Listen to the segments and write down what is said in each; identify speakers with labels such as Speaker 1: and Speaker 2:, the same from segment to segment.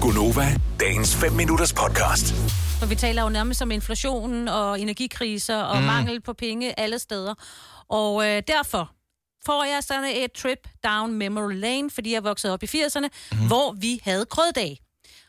Speaker 1: Gunova, dagens 5 minutters podcast.
Speaker 2: For vi taler jo nærmest om inflationen og energikriser og mm. mangel på penge alle steder. Og øh, derfor får jeg sådan et trip down memory lane, fordi jeg voksede op i 80'erne, mm. hvor vi havde grøddag.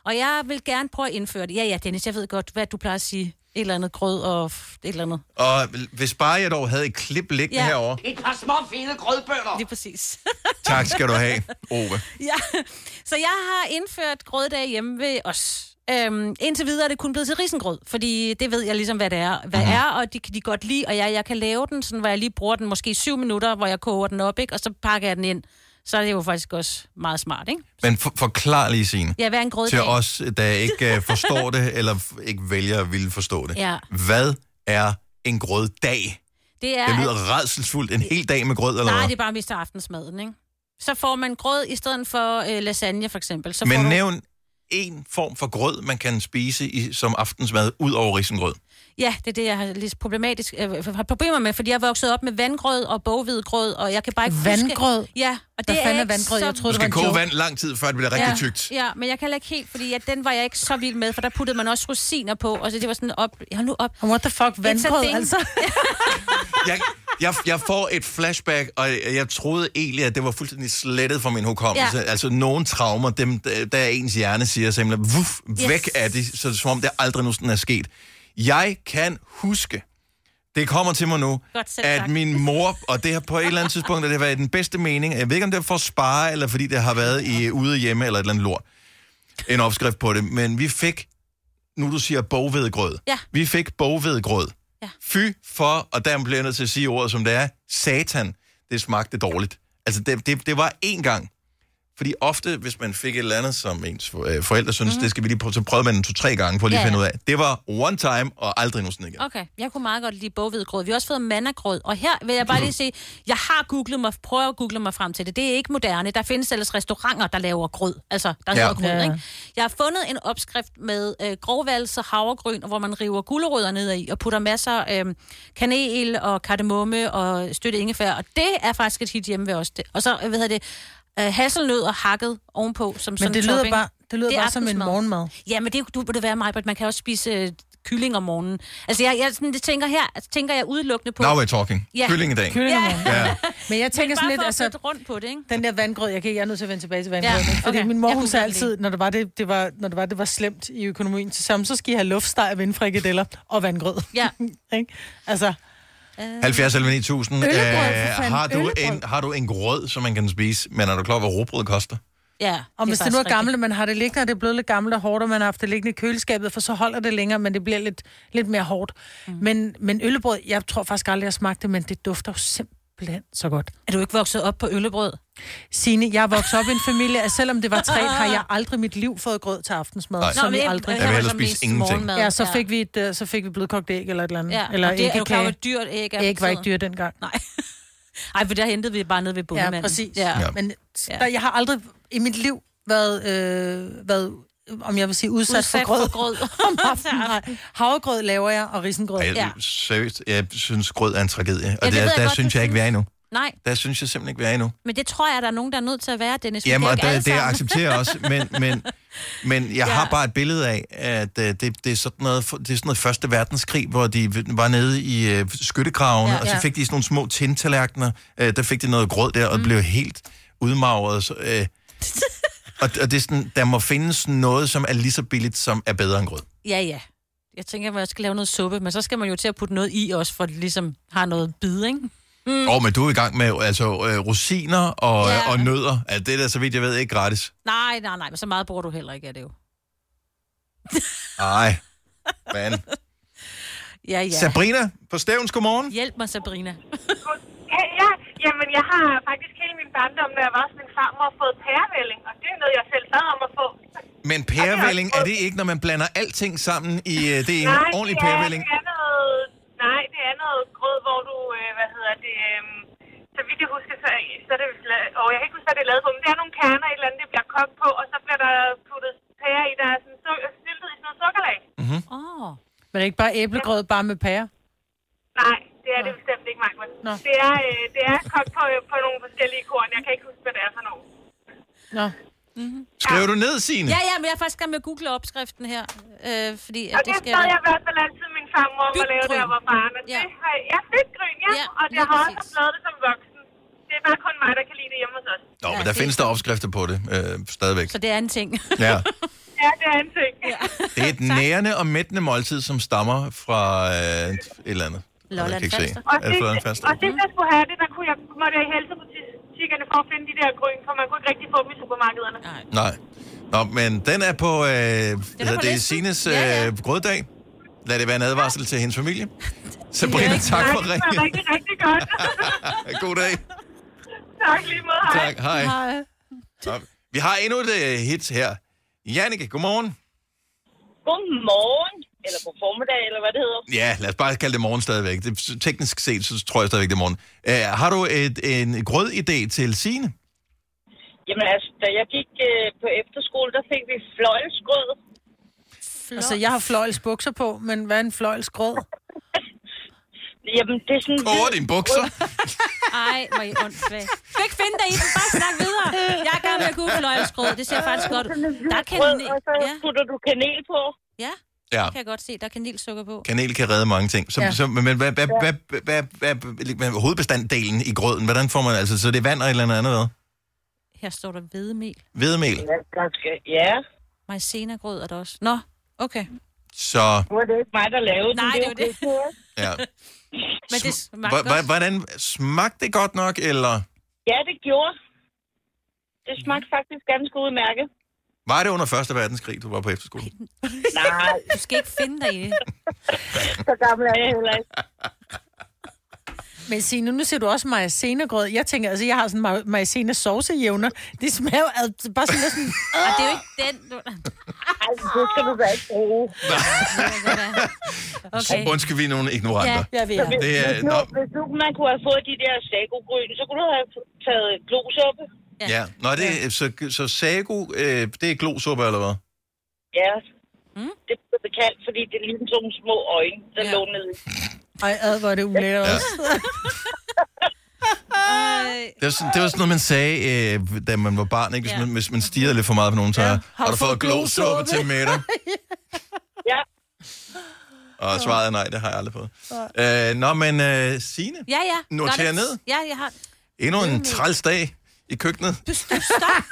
Speaker 2: Og jeg vil gerne prøve at indføre det. Ja, ja, Dennis, jeg ved godt, hvad du plejer at sige. Et eller andet grød og f- et eller andet.
Speaker 3: Og hvis bare jeg dog havde et klip liggende
Speaker 2: Ja.
Speaker 3: ja. herovre.
Speaker 4: Et par små fede grødbønder.
Speaker 2: Lige præcis.
Speaker 3: Tak skal du have, Ove.
Speaker 2: ja. Så jeg har indført grøddag hjemme ved os. Øhm, indtil videre er det kun blevet til risengrød, fordi det ved jeg ligesom, hvad det er, hvad mm. er og det kan de godt lide, og jeg, jeg kan lave den, sådan, hvor jeg lige bruger den måske syv minutter, hvor jeg koger den op, ikke? og så pakker jeg den ind. Så er det jo faktisk også meget smart, ikke?
Speaker 3: Men for, forklar lige sin
Speaker 2: Ja, hvad er en grøddag?
Speaker 3: til os, der ikke uh, forstår det, eller f- ikke vælger at ville forstå det.
Speaker 2: Ja.
Speaker 3: Hvad er en grøddag?
Speaker 2: Det er,
Speaker 3: Det
Speaker 2: at-
Speaker 3: lyder redselsfuldt. En hel dag med grød, eller
Speaker 2: nej,
Speaker 3: hvad?
Speaker 2: det er bare mest aftensmaden, ikke? Så får man grød i stedet for øh, lasagne, for eksempel. Så får
Speaker 3: Men
Speaker 2: du-
Speaker 3: nævn en form for grød, man kan spise i, som aftensmad, ud over risengrød.
Speaker 2: Ja, det er det, jeg har lidt problematisk, øh, har problemer med, fordi jeg er vokset op med vandgrød og boghvidgrød, og jeg kan bare ikke
Speaker 5: Vandgrød?
Speaker 2: huske... Ja, og
Speaker 5: Hvad
Speaker 2: det
Speaker 5: fanden er
Speaker 2: ikke
Speaker 5: vandgrød?
Speaker 2: så-
Speaker 5: Jeg troede,
Speaker 3: Du
Speaker 5: det var
Speaker 3: skal
Speaker 5: en
Speaker 3: koge
Speaker 5: joke.
Speaker 3: vand lang tid, før det bliver rigtig
Speaker 2: ja,
Speaker 3: tykt.
Speaker 2: Ja, men jeg kan heller ikke helt, fordi ja, den var jeg ikke så vild med, for der puttede man også rosiner på, og så det var sådan op... Hold nu op.
Speaker 5: Og What the fuck, vandgrød,
Speaker 2: thing.
Speaker 5: altså?
Speaker 3: Jeg, jeg, jeg får et flashback, og jeg, jeg troede egentlig, at det var fuldstændig slettet fra min hukommelse. Ja.
Speaker 2: Ja.
Speaker 3: Altså nogle traumer, dem, der der er ens hjerne siger simpelthen, vuff, yes. væk af det, så det er, som om det aldrig nogensinde er sket. Jeg kan huske, det kommer til mig nu,
Speaker 2: Godt, selv
Speaker 3: at
Speaker 2: tak.
Speaker 3: min mor, og det har på et eller andet tidspunkt, at det har været i den bedste mening, jeg ved ikke, om det er for at spare, eller fordi det har været i ude hjemme, eller et eller andet lort, en opskrift på det, men vi fik, nu du siger bogvedgrød,
Speaker 2: Ja.
Speaker 3: vi fik bogvedgrød.
Speaker 2: Ja.
Speaker 3: Fy for, og der bliver jeg nødt til at sige ordet, som det er, satan, det smagte dårligt. Altså, det, det, det var én gang. Fordi ofte, hvis man fik et eller andet, som ens for- øh, forældre synes, mm. det skal vi lige prøve, så prøvede man den to-tre gange for lige at
Speaker 2: Ja,
Speaker 3: finde ud
Speaker 2: ja.
Speaker 3: af. Det var one time, og aldrig nogensinde igen.
Speaker 2: Okay, jeg kunne meget godt lide boghvidgrød. Vi har også fået mandagrød, og her vil jeg bare lige sige, jeg har googlet mig, prøver at google mig frem til det. Det er ikke moderne. Der findes ellers restauranter, der laver grød. Altså, der
Speaker 3: Ja.
Speaker 2: hedder grød,
Speaker 5: Ja.
Speaker 2: ikke? Jeg har fundet en opskrift med øh, grovvalse og havregryn, hvor man river gulerødder ned i og putter masser af øh, kanel og kardemomme og støtte ingefær. Og det er faktisk et hit hjemme ved os. Det. Og så, øh, hvad hedder det, øh, hasselnødder hakket ovenpå som
Speaker 5: Men
Speaker 2: som
Speaker 5: det lyder
Speaker 2: topping.
Speaker 5: bare, det lyder
Speaker 2: Det er
Speaker 5: bare som en
Speaker 2: aftensmad.
Speaker 5: morgenmad.
Speaker 2: Ja, men det du, det være mig, at man kan også spise øh, kylling om morgenen. Altså, jeg, jeg sådan, det tænker her, altså, tænker jeg udelukkende på...
Speaker 3: Now we're talking.
Speaker 2: Ja.
Speaker 3: Kyllingedagen.
Speaker 5: Kylling om
Speaker 2: Ja.
Speaker 5: morgenen.
Speaker 3: Ja.
Speaker 5: Men jeg tænker
Speaker 2: bare
Speaker 5: sådan lidt,
Speaker 2: for
Speaker 5: altså,
Speaker 2: at flytte rundt på det, ikke?
Speaker 5: den der vandgrød, jeg, kan, jeg er nødt til at vende tilbage til vandgrød.
Speaker 2: Ja,
Speaker 5: Ja, fordi
Speaker 2: okay.
Speaker 5: min mor,
Speaker 2: Jeg
Speaker 5: hun
Speaker 2: kunne
Speaker 5: sagde
Speaker 2: godt lide.
Speaker 5: altid, når det var det, det var, når det var, det var slemt i økonomien til sammen, så skal I have luftsteg, vindfrikadeller og vandgrød.
Speaker 2: Ja.
Speaker 5: Ikke? altså,
Speaker 3: 70 eller 9000. Øh,
Speaker 5: Øllebrød, for fanden,
Speaker 3: har, du
Speaker 5: øllebrød.
Speaker 3: en, har du en grød, som man kan spise? Men er du klar, over, hvad robrød koster?
Speaker 2: Ja,
Speaker 5: og hvis det nu er
Speaker 2: faktisk
Speaker 5: gammelt, og man har det liggende, og det er blevet lidt gammelt og hårdt, og man har haft det liggende i køleskabet, for så holder det længere, men det bliver lidt, lidt mere hårdt. Mm. Men, men øllebrød, jeg tror faktisk aldrig, jeg smagte det, men det dufter jo simpelthen så godt.
Speaker 2: rigtigt. Er du ikke vokset op på øllebrød?
Speaker 5: Signe, jeg er vokset op i en familie, at selvom det var træt, har jeg aldrig i mit liv fået grød til aftensmad,
Speaker 3: Nej.
Speaker 5: Nej. som
Speaker 2: men
Speaker 5: vi
Speaker 2: det-
Speaker 5: aldrig
Speaker 2: det var
Speaker 3: hellere
Speaker 2: som
Speaker 3: spise
Speaker 2: mest
Speaker 3: ingenting.
Speaker 2: morgenmad,
Speaker 5: Ja, så fik vi et, øh, så fik vi blødkogt æg eller et eller andet.
Speaker 2: Ja,
Speaker 5: Eller
Speaker 2: og det er jo klart,
Speaker 5: æggekage.
Speaker 2: at dyrt æg er
Speaker 5: Æg var ikke
Speaker 2: for tiden.
Speaker 5: dyrt dengang.
Speaker 2: Nej. Ej, for der hentede vi bare nede ved bundemanden.
Speaker 5: Ja, præcis.
Speaker 2: Ja.
Speaker 3: Ja.
Speaker 2: ja.
Speaker 5: Men der, jeg har aldrig i mit liv været, øh, været om jeg vil sige, udsat,
Speaker 2: Udsat
Speaker 5: for grød.
Speaker 2: for grød.
Speaker 5: om aftenen. Nej. Havregrød laver jeg, og risengrød.
Speaker 3: Ej,
Speaker 2: Ja.
Speaker 3: jeg, seriøst, jeg synes, grød er en tragedie. Og
Speaker 2: det ved
Speaker 3: der,
Speaker 2: jeg
Speaker 3: der
Speaker 2: godt,
Speaker 3: synes
Speaker 2: du
Speaker 3: jeg ikke, vi er endnu.
Speaker 2: Nej,
Speaker 3: Der synes jeg simpelthen ikke, vi er endnu.
Speaker 2: men det tror jeg, der er nogen, der er nødt til at være, Dennis. for
Speaker 3: Jamen,
Speaker 2: det er
Speaker 3: og
Speaker 2: jo ikke
Speaker 3: det, altså-
Speaker 2: alle
Speaker 3: det
Speaker 2: sammen.
Speaker 3: accepterer jeg også, men, men, men jeg ja. har
Speaker 2: Ja.
Speaker 3: bare et billede af, at øh, det, det, er sådan noget, det er sådan noget første verdenskrig, hvor de var nede i øh, skyttegravene, ja.
Speaker 2: Ja.
Speaker 3: og så
Speaker 5: Ja.
Speaker 3: fik de sådan nogle små tintallerkener, øh, der fik de noget grød der, og mm. blev helt udmagret. Så, øh, og, og det er sådan, der må findes noget, som er lige så billigt, som er bedre end grød.
Speaker 2: Ja, ja. Jeg tænker, at man skal lave noget suppe, men så skal man jo til at putte noget i også, for at det ligesom har noget bid, ikke?
Speaker 3: Mm. Og men du er i gang med altså, øh, rosiner og,
Speaker 2: Ja.
Speaker 3: ja. og nødder. Altså, det er da, så vidt jeg ved, ikke gratis.
Speaker 2: Nej, nej, nej, men så meget bruger du heller ikke af det jo.
Speaker 3: Ej, man.
Speaker 2: Ja, ja.
Speaker 3: Sabrina på Stævns, godmorgen.
Speaker 2: Hjælp mig, Sabrina.
Speaker 6: Ja, ja, jamen jeg har faktisk hele min barndom, når jeg var sådan en farmor, fået pærevælling, og det er noget, jeg selv sad om at få.
Speaker 3: Men pærevælling, er det ikke, når man blander alting sammen i øh, det er en
Speaker 6: Nej,
Speaker 3: ordentlig
Speaker 6: det er,
Speaker 3: pærevælling?
Speaker 6: det er noget, nej, det er noget grød, hvor du, øh, hvad hedder det, øh, så vidt jeg husker, så, så er det, vist la- og jeg kan ikke huske, hvad det er lavet på, men det er nogle kerner, et eller andet, det bliver kogt på, og så bliver der puttet pære i, der er sådan su- syltet i sådan noget sukkerlag.
Speaker 2: Åh. Oh.
Speaker 5: Men det er ikke bare æblegrød, bare med pære.
Speaker 6: Nej, det er det bestemt ikke, Michael.
Speaker 5: Nå.
Speaker 6: Det er, øh, det er kogt på, på nogle forskellige korn, jeg kan ikke huske, hvad det er for nogle.
Speaker 5: Nå.
Speaker 3: Skriver du ned, Signe?
Speaker 2: Ja, ja, men jeg er faktisk gang med at google opskriften her, øh, fordi at
Speaker 6: Og
Speaker 2: det
Speaker 6: det
Speaker 2: skal...
Speaker 6: sad jeg i hvert fald altid min farmor om at lave, da
Speaker 2: Dybgryn.
Speaker 6: jeg var barn. Og
Speaker 2: Ja.
Speaker 6: ja. det har jeg... Ja, dybgryn, ja.
Speaker 2: Ja,
Speaker 6: ja og
Speaker 2: lige
Speaker 6: jeg har også
Speaker 2: præcis.
Speaker 6: lavet det som voksen. Det er bare kun mig, der kan lide det hjemme hos os.
Speaker 3: Nå,
Speaker 2: Ja,
Speaker 3: men der
Speaker 2: det-
Speaker 3: findes der opskrifter på det øh, stadigvæk.
Speaker 2: Så det er en ting.
Speaker 3: Ja.
Speaker 6: Ja, det er en ting. Ja.
Speaker 3: Det er et nærende og mættende måltid, som stammer fra øh, et eller andet.
Speaker 2: Lolland
Speaker 3: Jeg kan ikke se.
Speaker 2: Falster.
Speaker 6: Og
Speaker 3: Er det
Speaker 6: sidst,
Speaker 3: Lolland Falster?
Speaker 6: og sidst jeg skulle have det, der kunne jeg, måtte jeg i helsebutikkerne for at finde de der grøn, for man kunne ikke rigtig få dem i supermarkederne.
Speaker 2: Nej.
Speaker 3: Nej. Nå, men den er på, øh, den
Speaker 2: på
Speaker 3: er det er
Speaker 2: listen.
Speaker 3: Sines øh,
Speaker 2: Ja,
Speaker 3: ja,
Speaker 2: ja.
Speaker 3: grøddag. Lad det være en advarsel til hendes familie. Sabrina,
Speaker 2: ikke
Speaker 3: tak
Speaker 6: Nej,
Speaker 3: for
Speaker 6: det var
Speaker 3: ringen.
Speaker 6: rigtig, rigtig godt.
Speaker 3: God dag.
Speaker 6: tak lige måde. Hej.
Speaker 3: Tak, hej. Nå, Vi har endnu et øh, hit her. Jannike, godmorgen.
Speaker 7: Godmorgen, eller på formiddag, eller hvad det hedder.
Speaker 3: Ja, lad os bare kalde det morgen stadigvæk. Det, teknisk set, så tror jeg stadigvæk, det er morgen. Øh, har du et, en grødidé til Sine?
Speaker 7: Jamen altså, da jeg gik øh, på efterskole, der fik vi fløjlsgrød.
Speaker 5: Altså, jeg har fløjlsbukser på, men hvad er en fløjlsgrød?
Speaker 7: Jamen, det er sådan...
Speaker 3: Over dine bukser.
Speaker 2: Ej, hvor er I åndssvagt. Du kan ikke finde dig i den, bare snak videre. Jeg er i gang med at google fløjelsgrød, det ser faktisk godt ud. Der er
Speaker 7: Grød,
Speaker 2: kanel,
Speaker 7: og så
Speaker 2: ja,
Speaker 7: putter du kanel på.
Speaker 2: ja,
Speaker 3: Ja.
Speaker 2: kan jeg godt se, der er kanelsukker på.
Speaker 3: Kanel kan redde mange ting. Så, ja.
Speaker 5: Ja.
Speaker 3: så, men hvad, hvad, hvad, hvad, hvad, hvad, hvad, hovedbestanddelen i grøden, hvordan får man altså? Så det er vand og et eller andet andet? hvad?
Speaker 2: Her står der hvedemel.
Speaker 3: Hvedemel.
Speaker 7: Ja, ganske. Ja,
Speaker 2: Majsenagrød er der også. Nå, okay.
Speaker 3: Så,
Speaker 7: nu er det ikke mig, der lavede
Speaker 2: Nej,
Speaker 7: den.
Speaker 2: det er jo det.
Speaker 3: ja.
Speaker 2: Men det smagte
Speaker 3: Hva- hva-
Speaker 2: godt.
Speaker 3: Hvordan, smagte det godt nok, eller
Speaker 7: Ja, det gjorde. Det smagte
Speaker 2: Mm.
Speaker 7: faktisk ganske udmærket.
Speaker 3: var det under Første Verdenskrig, du var på efterskole?
Speaker 7: Nej,
Speaker 2: Du skal ikke finde dig i det.
Speaker 7: så gammel er jeg heller ikke.
Speaker 5: Men Signe, nu ser du også majsenegrød. Jeg tænker, altså, jeg har sådan majsene saucejævner. Det smager jo altså bare sådan lidt sådan...
Speaker 2: Og det er jo ikke den, du...
Speaker 7: Ej, det skal du da ikke bruge.
Speaker 2: Okay.
Speaker 3: Undskyld, vi er nogle ignoranter.
Speaker 5: Jeg ved ikke.
Speaker 3: Det er,
Speaker 7: Hvis nu,
Speaker 3: nå,
Speaker 7: hvis nu man kunne have fået de der sagogryn, så kunne du have taget glosuppe.
Speaker 3: ja. Nå, det, er- så, så sago, øh, det er glosuppe, eller hvad?
Speaker 7: Ja. Mm. Det blev det kaldt, fordi det er ligesom sådan nogle små øjne, der
Speaker 2: Ja.
Speaker 7: ja. lå nede.
Speaker 5: Ej, ad, hvor er det ulækkert
Speaker 3: Ja.
Speaker 5: også.
Speaker 2: Ej.
Speaker 3: Det var, sådan, det var sådan noget, man sagde, øh, da man var barn, ikke? Hvis,
Speaker 2: Ja.
Speaker 3: man, hvis man stirrede lidt for meget på nogen, så ja. har du fået glosuppe til middag.
Speaker 7: Ja,
Speaker 3: Og svaret er nej, det har jeg aldrig fået. Øh, nå, men øh, Signe,
Speaker 2: Ja, ja.
Speaker 3: Noter
Speaker 2: Nå, det-
Speaker 3: ned.
Speaker 2: Ja, jeg har...
Speaker 3: endnu en træls dag i køkkenet.
Speaker 2: Du, du stop.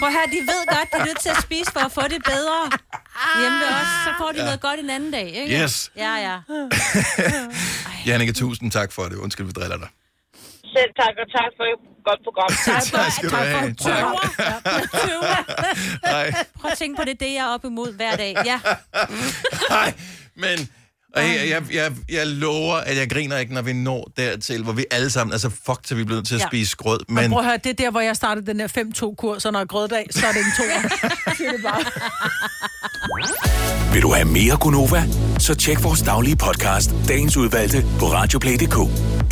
Speaker 2: Prøv her, de ved godt, du er nødt til at spise for at få det bedre hjemme ved os. Så får de ja. noget godt en anden dag, ikke?
Speaker 3: Yes.
Speaker 2: Ja, ja.
Speaker 3: Jannike, tusind tak for det. Undskyld, vi driller dig.
Speaker 7: selv tak, og tak for et godt program. Tak.
Speaker 3: Tak skal du have. Tak.
Speaker 2: Tøver. Tøver.
Speaker 3: Hej.
Speaker 2: Prøv at tænke på det, det jeg er op imod hver dag. Ja.
Speaker 3: Hej. Men og jeg, jeg, jeg, jeg lover, at jeg griner ikke, når vi når dertil, hvor vi alle sammen... Altså, fuck, så vi bliver nødt til at
Speaker 2: Ja.
Speaker 3: spise grød.
Speaker 5: Men...
Speaker 3: Men
Speaker 5: Prøv at høre, det er der, hvor jeg startede den der 5-2-kur, så når jeg er grøddag, så er det en to.
Speaker 1: Vil du have mere Gunova? Så tjek vores daglige podcast, dagens udvalgte, på radioplay.dk.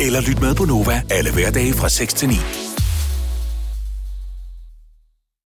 Speaker 1: Eller lyt med på Nova alle hverdage fra 6 til 9.